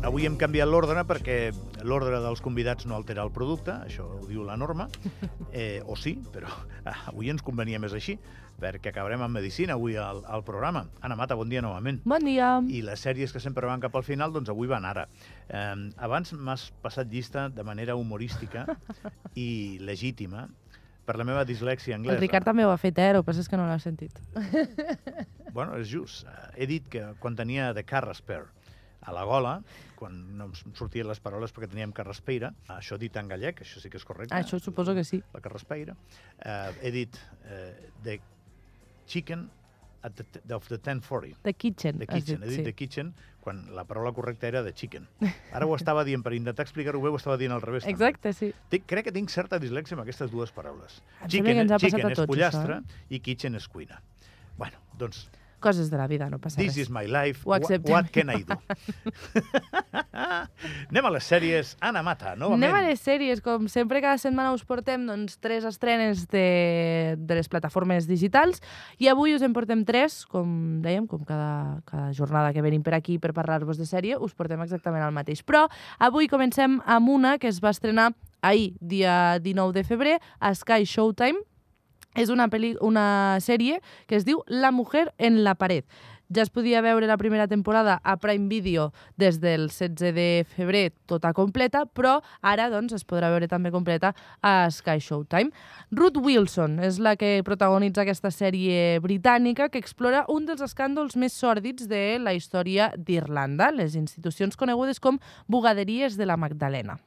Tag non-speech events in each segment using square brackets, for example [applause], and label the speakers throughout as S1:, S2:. S1: Avui hem canviat l'ordre perquè l'ordre dels convidats no altera el producte, això ho diu la
S2: [laughs]
S1: norma, eh, o sí, però [laughs] avui ens convenia més així, perquè acabarem amb Medicina avui al, al programa. Anna Mata, bon dia novament.
S2: Bon dia.
S1: I les sèries que sempre van cap al final, doncs avui van ara. Eh, abans m'has passat llista de manera
S2: [laughs]
S1: humorística i legítima per la meva dislèxia anglesa.
S2: El Ricard també ho ha fet, eh? El que passa és que no l'ha sentit.
S1: Bueno, és just. Eh, He dit que quan tenia de Carrasper a la gola, quan no em sortien les paraules perquè teníem Carraspeira, això dit en gallec, això sí que és correcte.
S2: Ah, això suposo que sí.
S1: La Carraspeira. Eh, he dit eh, the chicken at the, t- of the 1040.
S2: The Kitchen.
S1: The
S2: has
S1: kitchen, he dit
S2: Ah, sí.
S1: the kitchen, quan la paraula correcta era the chicken. Ara ho estava dient, per intentar explicar-ho bé, ho estava dient al revés. també.
S2: Exacte, sí.
S1: Tinc, crec que tinc certa dislèxia amb aquestes dues paraules.
S2: Em sembla que ens ha passat
S1: chicken
S2: a tots, eh?
S1: és pollastre i kitchen és cuina. Bueno, doncs,
S2: Coses de la vida, no passa
S1: this
S2: res.
S1: is my life,
S2: Ho
S1: wha-
S2: acceptem.
S1: what can I do? [laughs] Anem a les sèries. Anna Mata, novament.
S2: Anem a les sèries. Com sempre, cada setmana us portem doncs, tres estrenes de, de les plataformes digitals i avui us en portem tres, com dèiem, com cada, cada jornada que venim per aquí per parlar-vos de sèrie, us portem exactament el mateix. Però avui comencem amb una que es va estrenar ahir, dia 19 de febrer, a Sky Showtime. És una, peli, una sèrie que es diu La mujer en la paret. Ja es podia veure la primera temporada a Prime Video des del 16 de febrer tota completa, però ara doncs, es podrà veure també completa a Sky Showtime. Ruth Wilson és la que protagonitza aquesta sèrie britànica que explora un dels escàndols més sòrdids de la història d'Irlanda, les institucions conegudes com bugaderies de la Magdalena.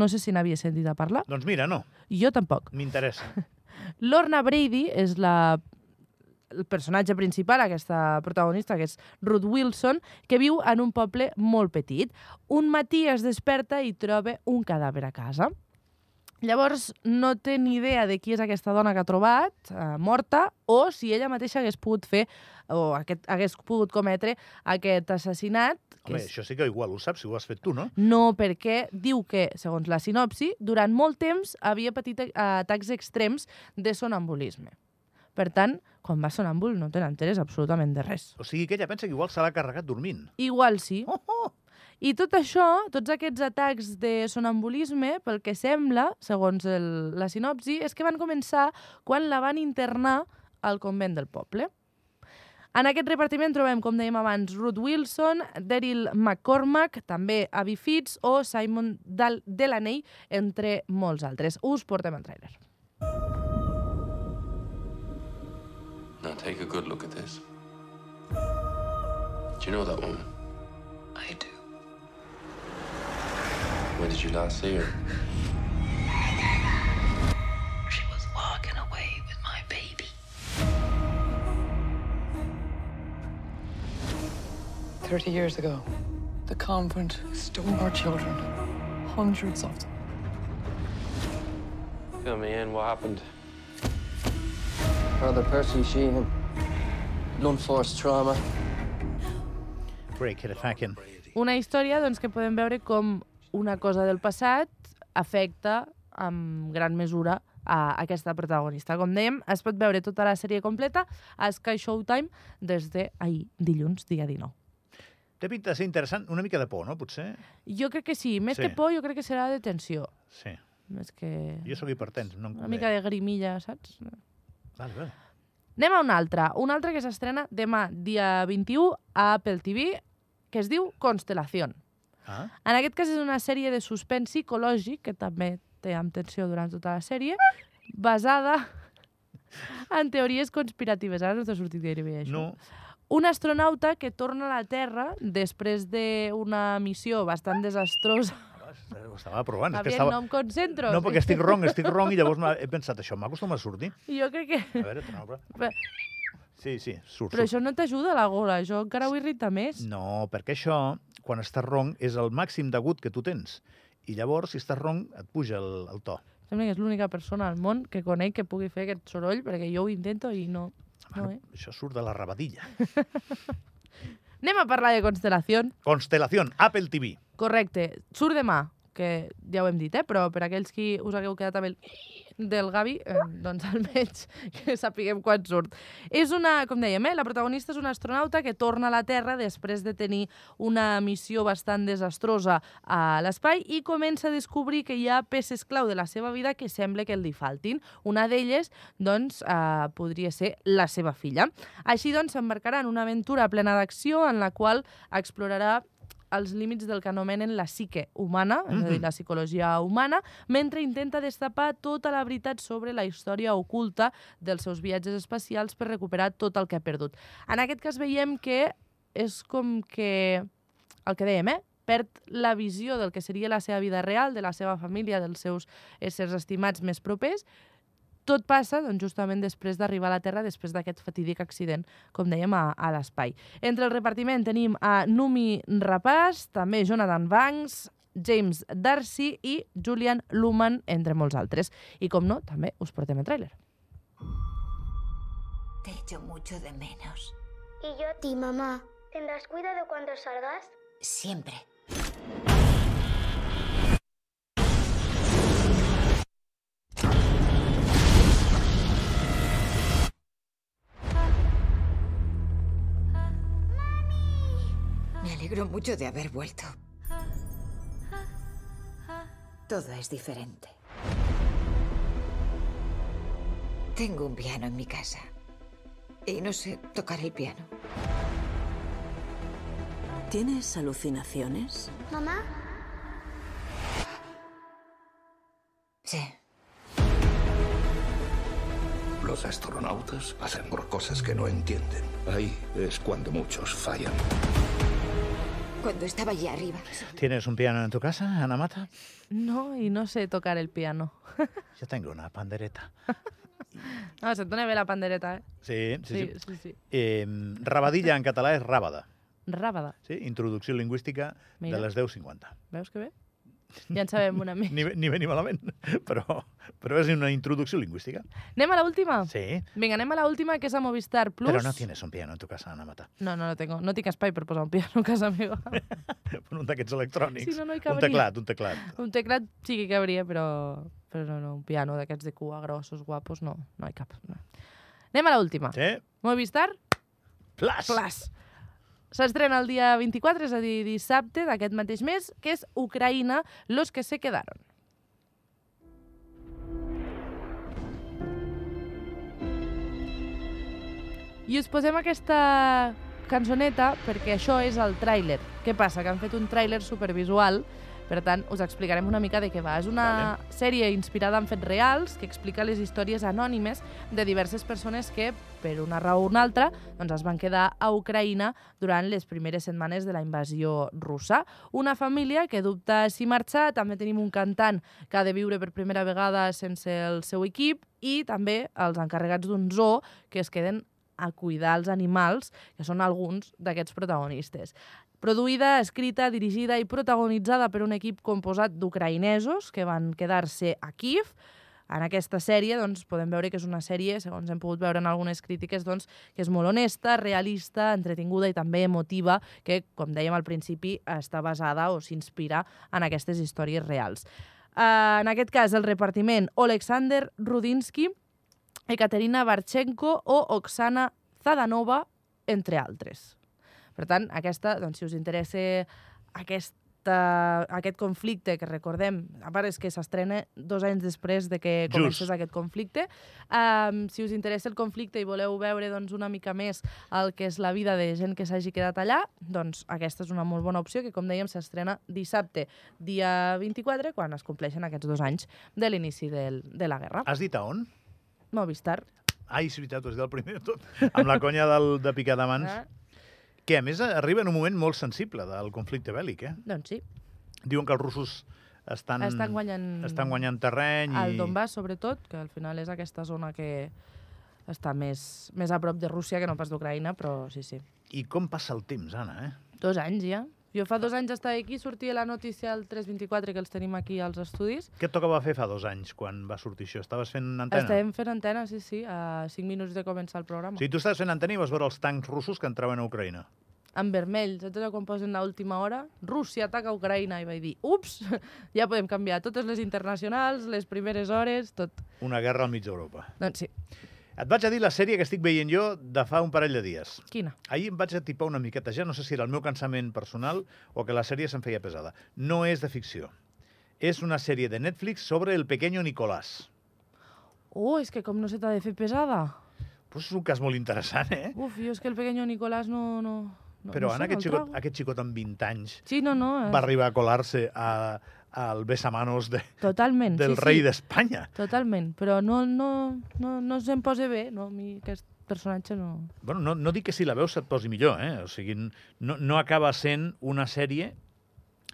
S2: No sé si n'havia sentit a parlar,
S1: Doncs mira, no,
S2: jo tampoc. [laughs]
S1: m'interessa.
S2: Lorna Brady és la el personatge principal, aquesta protagonista, que és Ruth Wilson, que viu en un poble molt petit. Un matí es desperta i troba un cadàver a casa. Llavors, no té ni idea de qui és aquesta dona que ha trobat, eh, morta, o si ella mateixa hagués pogut fer, o aquest, hagués pogut cometre aquest assassinat. que
S1: Home,
S2: és-
S1: això sí que igual ho saps, si ho has fet tu, no?
S2: no, perquè diu que, segons la sinopsi, durant molt temps havia patit eh, atacs extrems de sonambulisme. Per tant, quan vas sonambul no te n'enteres absolutament de res.
S1: O sigui que ella pensa que igual se l'ha carregat dormint.
S2: Igual sí.
S1: Oh, oh.
S2: I tot això, tots aquests atacs de sonambulisme, pel que sembla, segons el, la sinopsi, és que van començar quan la van internar al convent del poble. En aquest repartiment trobem, com dèiem abans, Ruth Wilson, Daryl McCormack, també Abby Fitz o Simon Dal Delaney, entre molts altres. Us portem el tràiler.
S3: Now take a good look at this. Do you know that woman?
S4: I do.
S3: Where did you last see her?
S4: She was walking away with my baby.
S5: Thirty years ago, the convent stole our children, hundreds of them.
S3: Fill me in. What happened?
S6: Other person, she him. Blunt force trauma.
S1: Break it a fucking.
S2: Una història doncs, que podem veure com una cosa del passat afecta en gran mesura a aquesta protagonista. Com dèiem, es pot veure tota la sèrie completa a Sky Showtime des de ahir, dilluns, dia 19.
S1: Té pinta de ser interessant, una mica de por, no, potser?
S2: Jo crec que sí. Més
S1: Sí.
S2: que por, jo crec que serà de tensió.
S1: Sí.
S2: Més que...
S1: Jo sóc hipertens, no em
S2: Una
S1: convé.
S2: mica de grimilla, saps?
S1: Vale, vale.
S2: Anem a una altra. Una altra que s'estrena demà, dia 21, a Apple TV, que es diu Constelación.
S1: Ah,
S2: En aquest cas és una sèrie de suspens psicològic, que també té amb tensió durant tota la sèrie, basada en teories conspiratives. Ara no t'ha sortit gaire bé, això.
S1: no,
S2: Un astronauta que torna a la Terra després d'una missió bastant desastrosa.
S1: Ah, ho estava provant. és que
S2: Javier,
S1: estava...
S2: no em concentro.
S1: No, perquè estic wrong, estic wrong i llavors m'ha- he pensat això, m'acostuma a sortir.
S2: Jo crec que...
S1: A veure, torna a provar.
S2: Però,
S1: Sí, sí, surt, surt.
S2: però això no t'ajuda, la gola. Això encara ho irrita més.
S1: No, perquè això, quan estàs wrong, és el màxim d'agut que tu tens. I llavors, si estàs wrong, et puja el, el to.
S2: Sembla que és l'única persona al món que conec que pugui fer aquest soroll, perquè jo ho intento i no... no eh?
S1: Això surt de la rabadilla.
S2: Anem a parlar de Constelación.
S1: Constelación, Apple TV.
S2: Correcte. Surt demà. que ja ho hem dit, eh? però per aquells qui us hagueu quedat amb el del Gavi, eh, doncs [laughs] almenys que sapiguem quan surt. És una, com dèiem, eh? la protagonista és una astronauta que torna a la Terra després de tenir una missió bastant desastrosa a l'espai i comença a descobrir que hi ha peces clau de la seva vida que sembla que li faltin. Una d'elles, doncs, eh, podria ser la seva filla. Així, doncs, s'embarcarà en una aventura plena d'acció en la qual explorarà els límits del que anomenen la psique humana, és a dir, la psicologia humana, mentre intenta destapar tota la veritat sobre la història oculta dels seus viatges espacials per recuperar tot el que ha perdut. En aquest cas veiem que és com que, el que dèiem, eh? perd la visió del que seria la seva vida real, de la seva família, dels seus éssers estimats més propers, tot passa doncs, justament després d'arribar a la Terra, després d'aquest fatídic accident, com dèiem, a, a l'espai. Entre el repartiment tenim a Numi Rapaz, també Jonathan Banks, James Darcy i Julian Luman, entre molts altres. I com no, també us portem el tràiler.
S7: Te echo mucho de menos.
S8: Y yo a ti, mamá. ¿Tendrás cuidado cuando salgas?
S7: Siempre. Me alegro mucho de haber vuelto. Todo es diferente. Tengo un piano en mi casa. Y no sé tocar el piano.
S9: ¿Tienes alucinaciones?
S8: ¿Mamá?
S7: Sí,
S10: Los astronautas hacen por cosas que no entienden. Ahí es cuando muchos fallan.
S7: cuando estaba allí arriba.
S1: ¿Tienes un piano en tu casa, Ana Mata?
S2: No, i no sé tocar el piano.
S1: Yo tengo una pandereta.
S2: No, se't dona bé la pandereta, eh?
S1: Sí, sí, sí.
S2: sí, sí. sí.
S1: Eh, rabadilla en català és ràbada.
S2: Ràbada,
S1: Sí? Introducció lingüística
S2: Mira.
S1: de les 10.50.
S2: veus que bé? Ja en sabem
S1: [laughs]
S2: una més.
S1: Ni, bé- ni bé ni malament, [laughs] però, però és una introducció lingüística.
S2: Anem a l'última?
S1: Sí,
S2: Vinga, anem a l'última, que és a Movistar Ah. Plus.
S1: però no tienes un piano en tu casa, Ana [laughs] Mata.
S2: No, no, no, tengo, no tinc espai per posar un piano a casa
S1: [laughs]
S2: meva.
S1: Un d'aquests electrònics.
S2: Sí, no, no
S1: un
S2: hi cabria.
S1: teclat, un teclat.
S2: Un teclat sí que cabria, però, però no, no, un piano d'aquests de cua, grossos, guapos, no, no hi cap. No. Anem a l'última. Sí.
S1: Sí?
S2: Movistar
S1: Plas!
S2: Plus. S'estrena el dia 24, és a dir, dissabte d'aquest mateix mes, que és Ucraïna, los que se quedaron. I us posem aquesta cançoneta perquè això és el tràiler. Què passa? Que han fet un tràiler supervisual per tant, us explicarem una mica de què va. És una
S1: Vale.
S2: sèrie inspirada en fets reals que explica les històries anònimes de diverses persones que, per una raó o una altra, doncs es van quedar a Ucraïna durant les primeres setmanes de la invasió russa. Una família que dubta si marxar, també tenim un cantant que ha de viure per primera vegada sense el seu equip i també els encarregats d'un zoo que es queden a cuidar els animals, que són alguns d'aquests protagonistes. Produïda, escrita, dirigida i protagonitzada per un equip composat d'ucraïnesos que van quedar-se a Kiev, en aquesta sèrie doncs, podem veure que és una sèrie, segons hem pogut veure en algunes crítiques, doncs, que és molt honesta, realista, entretinguda i també emotiva, que, com dèiem al principi, està basada o s'inspira en aquestes històries reals. Eh, en aquest cas, el repartiment Alexander Rudinsky, Ekaterina Barchenko o Oksana Zadanova, entre altres. Per tant, aquesta, doncs, si us interessa aquesta, aquest conflicte que recordem, a part és que s'estrena dos anys després de que
S1: Just.
S2: comencés aquest conflicte, um, si us interessa el conflicte i voleu veure doncs, una mica més el que és la vida de gent que s'hagi quedat allà, doncs aquesta és una molt bona opció que, com dèiem, s'estrena dissabte, dia 24, quan es compleixen aquests dos anys de l'inici del, de la guerra.
S1: Has dit a on?
S2: Movistar.
S1: Ai, és veritat, ho has dit el primer de tot. Amb la conya del, de picar d'amants.
S2: Ah,
S1: Que, a més, arriba en un moment molt sensible del conflicte bèl·lic, eh?
S2: doncs sí.
S1: Diuen que els russos estan,
S2: Estan guanyant-
S1: estan guanyant terreny
S2: Al
S1: i...
S2: Donbass, sobretot, que al final és aquesta zona que està més, més a prop de Rússia que no pas d'Ucraïna, però sí, sí.
S1: I com passa el temps, Anna, eh?
S2: Dos anys ja. Jo fa dos anys estava aquí, sortia la notícia al 324 que els tenim aquí als estudis.
S1: Què et tocava fer fa dos anys, quan va sortir això? Estaves fent antena?
S2: Estàvem fent antena, sí, sí, a 5 minuts de començar el programa.
S1: O sigui, tu estaves fent antena i vas veure els tancs russos que entraven a Ucraïna.
S2: en vermell, saps allò quan posen a última hora? Rússia ataca Ucraïna, i vaig dir, ups, [laughs] ja podem canviar totes les internacionals, les primeres hores, tot.
S1: Una guerra al mig d'Europa.
S2: Doncs sí,
S1: Et vaig a dir la sèrie que estic veient jo de fa un parell de dies.
S2: quina?
S1: Ahir em vaig atipar una miqueta ja, no sé si era el meu cansament personal o que la sèrie se'm feia pesada. No és de ficció. És una sèrie de Netflix sobre el pequeño Nicolás.
S2: Oh, és que com no se t'ha de fer pesada.
S1: Pues és un cas molt interessant, eh?
S2: Uf, jo és que el pequeño Nicolás no... no, no
S1: Però
S2: no
S1: Anna,
S2: sé,
S1: aquest
S2: me'l
S1: xicot,
S2: trago.
S1: aquest xicot amb 20 anys
S2: Sí, no, no. eh,
S1: va arribar a colar-se a- al besamanos de,
S2: Totalment.
S1: del
S2: sí,
S1: rei
S2: sí.
S1: d'Espanya.
S2: Totalment, però no, no, no, no se'm posa bé, no? A mi aquest personatge no...
S1: Bueno, no, no dic que si la veus se't posi millor, eh? O sigui, no, no acaba sent una sèrie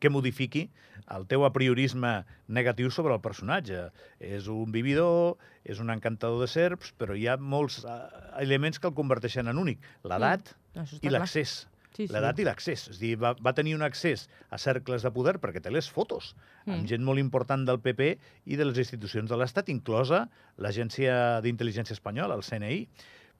S1: que modifiqui el teu apriorisme negatiu sobre el personatge. És un vividor, és un encantador de serps, però hi ha molts eh, elements que el converteixen en únic. L'edat
S2: Això està
S1: i
S2: clar.
S1: l'accés.
S2: Sí, sí.
S1: L'edat i l'accés. És a dir, va, va tenir un accés a cercles de poder perquè té les fotos amb
S2: Mm.
S1: gent molt important del PP i de les institucions de l'Estat, inclosa l'Agència d'Intel·ligència Espanyola, el CNI.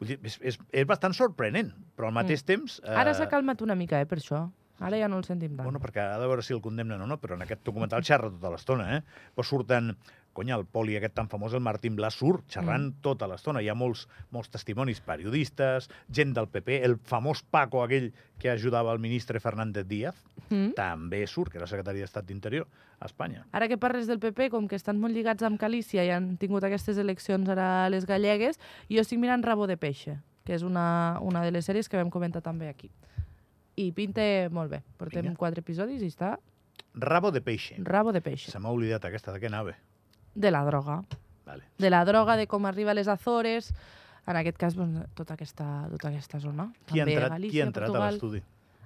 S1: Vull dir, és, és, és bastant sorprenent, però al mateix temps... Eh,
S2: Mm. Ara s'ha calmat una mica, eh, per això. Ara ja no el sentim tant.
S1: Bueno, perquè ha de veure si el condemnen o no, però en aquest documental xerra tota l'estona, eh? Però surten, conya, el poli aquest tan famós, el Martín Blas, surt xerrant mm. tota l'estona. Hi ha molts, molts testimonis, periodistes, gent del PP, el famós Paco, aquell que ajudava el ministre Fernández Díaz,
S2: Mm.
S1: també surt, que era secretari d'Estat d'Interior a Espanya.
S2: Ara que parles del PP, com que estan molt lligats amb Calícia i han tingut aquestes eleccions ara a les gallegues, jo estic mirant Rabo de Peixe, que és una, una de les sèries que vam comentar també aquí. I pinta molt bé. Portem
S1: Vinga.
S2: quatre episodis i està
S1: Rabo de peixe.
S2: Rabo de Peixe.
S1: Se m'ha oblidat aquesta, de què anava?
S2: De la droga.
S1: Vale.
S2: De la droga, de com arriba a les Azores, en aquest cas, doncs, tota, aquesta, tota aquesta zona.
S1: Qui ha
S2: També
S1: entrat, qui
S2: Galícia,
S1: ha entrat a
S2: Portugal.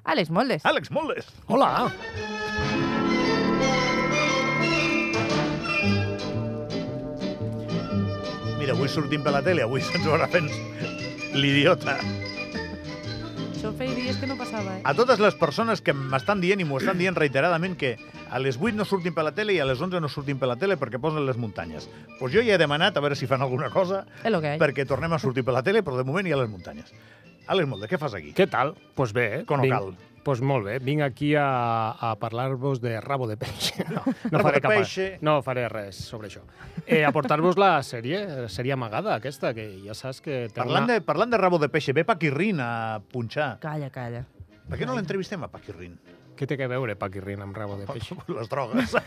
S2: Ah,
S1: l'estudi?
S2: Àlex Moldes.
S1: Àlex Moldes!
S2: Hola.
S1: Mira, avui sortim per la tele, avui [laughs] se'ns veurà fent l'idiota.
S2: Això feia dies que no passava, eh?
S1: A totes les persones que m'estan dient i m'ho estan dient reiteradament que a les 8 no surtin per la tele i a les 11 no surtin per la tele perquè posen les muntanyes. Doncs pues jo ja he demanat a veure si fan alguna cosa
S2: És el que hi ha.
S1: perquè tornem a sortir per la tele, però de moment hi ha les muntanyes. Àlex Molde, què fas aquí?
S11: Què tal? Doncs pues bé. eh?
S1: Con
S11: Vinc-
S1: Ocal.
S11: Pues molt bé, vinc aquí a, a parlar-vos de rabo de peix. [laughs] No, no
S1: Rabo de
S11: faré cap,
S1: peixe.
S11: no faré res sobre això. Eh, a portar-vos la sèrie, eh, sèrie amagada aquesta, que ja saps que... Té
S1: Parlant
S11: una...
S1: de, parlant de rabo de peixe, ve Paquirrin a punxar.
S2: Calla, calla.
S1: Per què no l'entrevistem a Paquirrin?
S11: Què té que veure Paquirrin amb rabo de peix?
S1: [laughs] Les
S11: [laughs]
S1: drogues,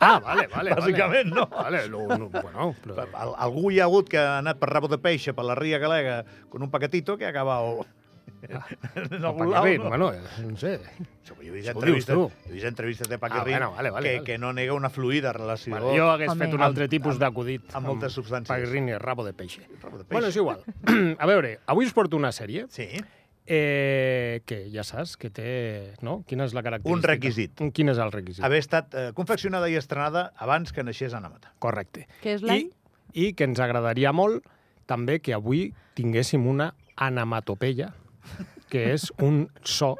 S11: Ah, vale, vale.
S1: bàsicament, no?
S11: Vale, lo, lo, bueno, però...
S1: [laughs] Al- Algú hi ha hagut que ha anat per rabo de peixe per la Ria Galega con un paquetito que ha acabat...
S11: Ah,
S1: [laughs] en algun
S11: Paquirrin,
S1: lado, no?
S11: bueno, eh, no sé.
S1: Jo he vist
S11: Això ho
S1: entrevistes,
S11: dius
S1: he vist entrevistes de Paquirri
S11: Ah, bueno, vale, vale,
S1: que,
S11: vale.
S1: que no nega una fluida relació
S11: Bueno, jo hagués
S2: Home.
S11: fet un altre
S1: oh. Amb-
S11: tipus
S1: amb-
S11: d'acudit.
S1: amb moltes substàncies.
S11: Paquirrin i rabo de peix.
S1: Rabo de peix.
S11: Bueno, és igual. [clears throat] A veure, avui us porto una sèrie
S1: Sí,
S11: Eh, que ja saps que té... No? Quina és la característica?
S1: Un requisit.
S11: Quin és el requisit?
S1: haver estat eh, confeccionada i estrenada abans que naixés Anna Mata.
S11: Correcte.
S2: Què és l'any?
S11: I, I que ens agradaria molt també que avui tinguéssim una anamatopeia, que és un so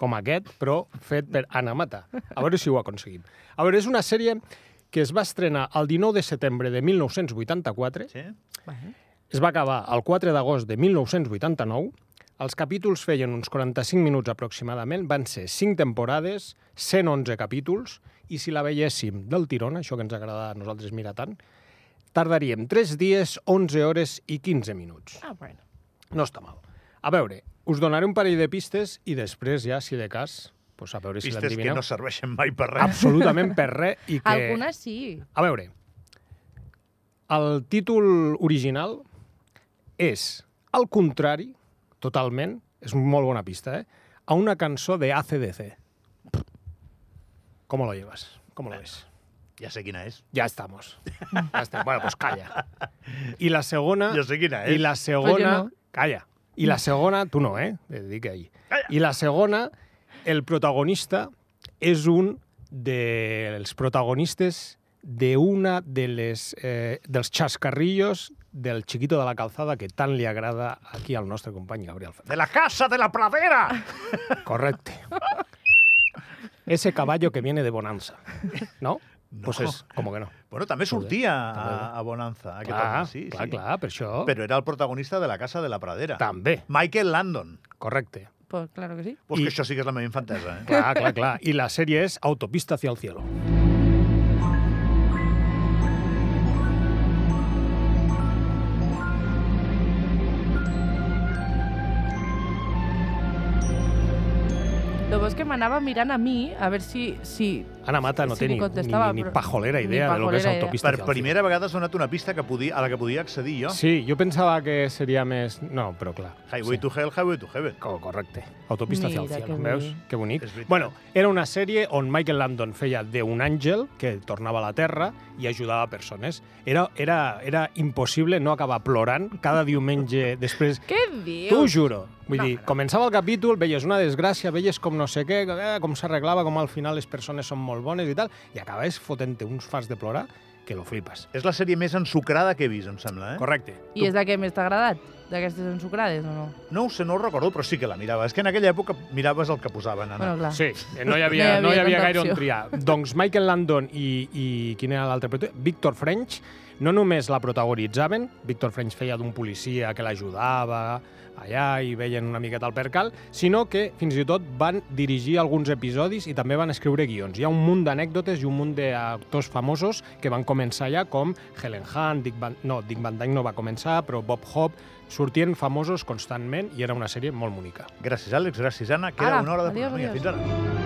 S11: com aquest, però fet per Anamata. A veure si ho aconseguim. A veure, és una sèrie que es va estrenar el 19 de setembre de 1984,
S1: Sí?
S2: Bueno.
S11: es va acabar el 4 d'agost de 1989. Els capítols feien uns 45 minuts aproximadament, van ser 5 temporades, 111 capítols, i si la veiéssim del tirón, això que ens agrada a nosaltres mirar tant, tardaríem 3 dies, 11 hores i 15 minuts.
S2: Ah, bueno.
S11: No està mal. A veure, us donaré un parell de pistes i després ja, si de cas, pues a veure si
S1: Pistes que
S11: l'endivineu.
S1: no serveixen mai per
S11: Ah,
S1: res.
S11: Absolutament per res
S2: [laughs]
S11: i que...
S2: Que... Algunes sí.
S11: A veure, el títol original és al contrari, totalment, és molt bona pista, eh? a una cançó de ACDC. ¿Cómo lo llevas? ¿Cómo lo ves?
S1: Ja sé quina és.
S11: Ya estamos. Ya está. Bueno, pues calla. I la segona...
S1: Jo sé quina
S11: I
S1: és.
S11: la
S2: Però
S11: segona...
S2: jo no.
S11: Calla. I la segona... Tu no, eh? He de dir que ahir. I la segona, el protagonista és un dels protagonistes d'una de les, eh, dels xascarrillos del Chiquito de la Calzada que tant li agrada aquí al nostre company Gabriel Fernández.
S1: De la casa de la pradera!
S11: Ah. Correcte. Ese caballo que viene de Bonanza.
S1: No.
S11: ¿No? Pues es, como que no.
S1: Bueno, també
S11: Molt bé,
S1: sortia a,
S11: també.
S1: a Bonanza. Aquest
S11: clar,
S1: home, sí,
S11: clar,
S1: sí.
S11: clar, per això...
S1: Però era el protagonista de la casa de la pradera.
S11: També,
S1: Michael Landon.
S11: correcte.
S2: Pues, claro que sí.
S1: Pues que això sí que és la meva infantesa, eh?
S11: Clar, clar, clar. I la sèrie és Autopista hacia el cielo.
S2: Lo que és que m'anava mirant a mi, a veure si... si
S11: Ana Mata no
S2: si
S11: té
S2: li
S11: ni, ni,
S2: contestava,
S11: ni
S2: però-
S11: pajolera
S2: ni
S11: idea de lo que és
S2: pajolera idea.
S11: Autopista
S1: Per
S11: hacia el cielo.
S1: primera vegada ha sonat una pista que podia, a la que podia accedir jo.
S11: Sí, jo pensava que seria més... No, però clar.
S1: Highway
S11: sí.
S1: to Hell, Highway to Heaven.
S11: Co- Correcte. Autopista hacia el
S2: Mira,
S11: cielo,
S2: que
S11: veus?
S2: bonic.
S11: Que bonic.
S1: És veritat.
S11: Bueno, era una sèrie on Michael Landon feia d'un àngel que tornava a la Terra i ajudava persones. Era, era, era impossible no acabar plorant cada diumenge després...
S2: Què dius?
S11: T'ho juro. Vull
S2: No,
S11: dir,
S2: no.
S11: començava el capítol, veies una desgràcia, veies com no sé què, eh, com s'arreglava, com al final les persones són molt bones i tal, i acabes fotent-te uns fars de plorar que lo flipes.
S1: És la sèrie més ensucrada que he vist, em sembla, eh?
S11: Correcte.
S2: I és la que més t'ha agradat, d'aquestes ensucrades o no?
S1: No ho sé, no ho recordo, però sí que la mirava. És que en aquella època miraves el que posaven, Anna.
S2: Bueno, clar.
S11: Sí, eh, [laughs] no hi havia, no hi havia,
S2: tanta
S11: gaire on
S2: opció.
S11: triar. doncs Michael Landon i, i quin era l'altre? prota- Víctor French, no només la protagonitzaven, Víctor French feia d'un policia que l'ajudava allà i veien una miqueta el percal, sinó que fins i tot van dirigir alguns episodis i també van escriure guions. Hi ha un munt d'anècdotes i un munt d'actors famosos que van començar allà, com Helen Hunt, Dick Van... No, Dick Van Dyke no va començar, però Bob Hope... Sortien famosos constantment i era una sèrie molt bonica.
S1: Gràcies, Àlex, gràcies, Anna. Queda
S2: Ara,
S1: una hora de
S2: adiós,
S1: programa. Vinga,
S2: adiós.
S1: Fins ara.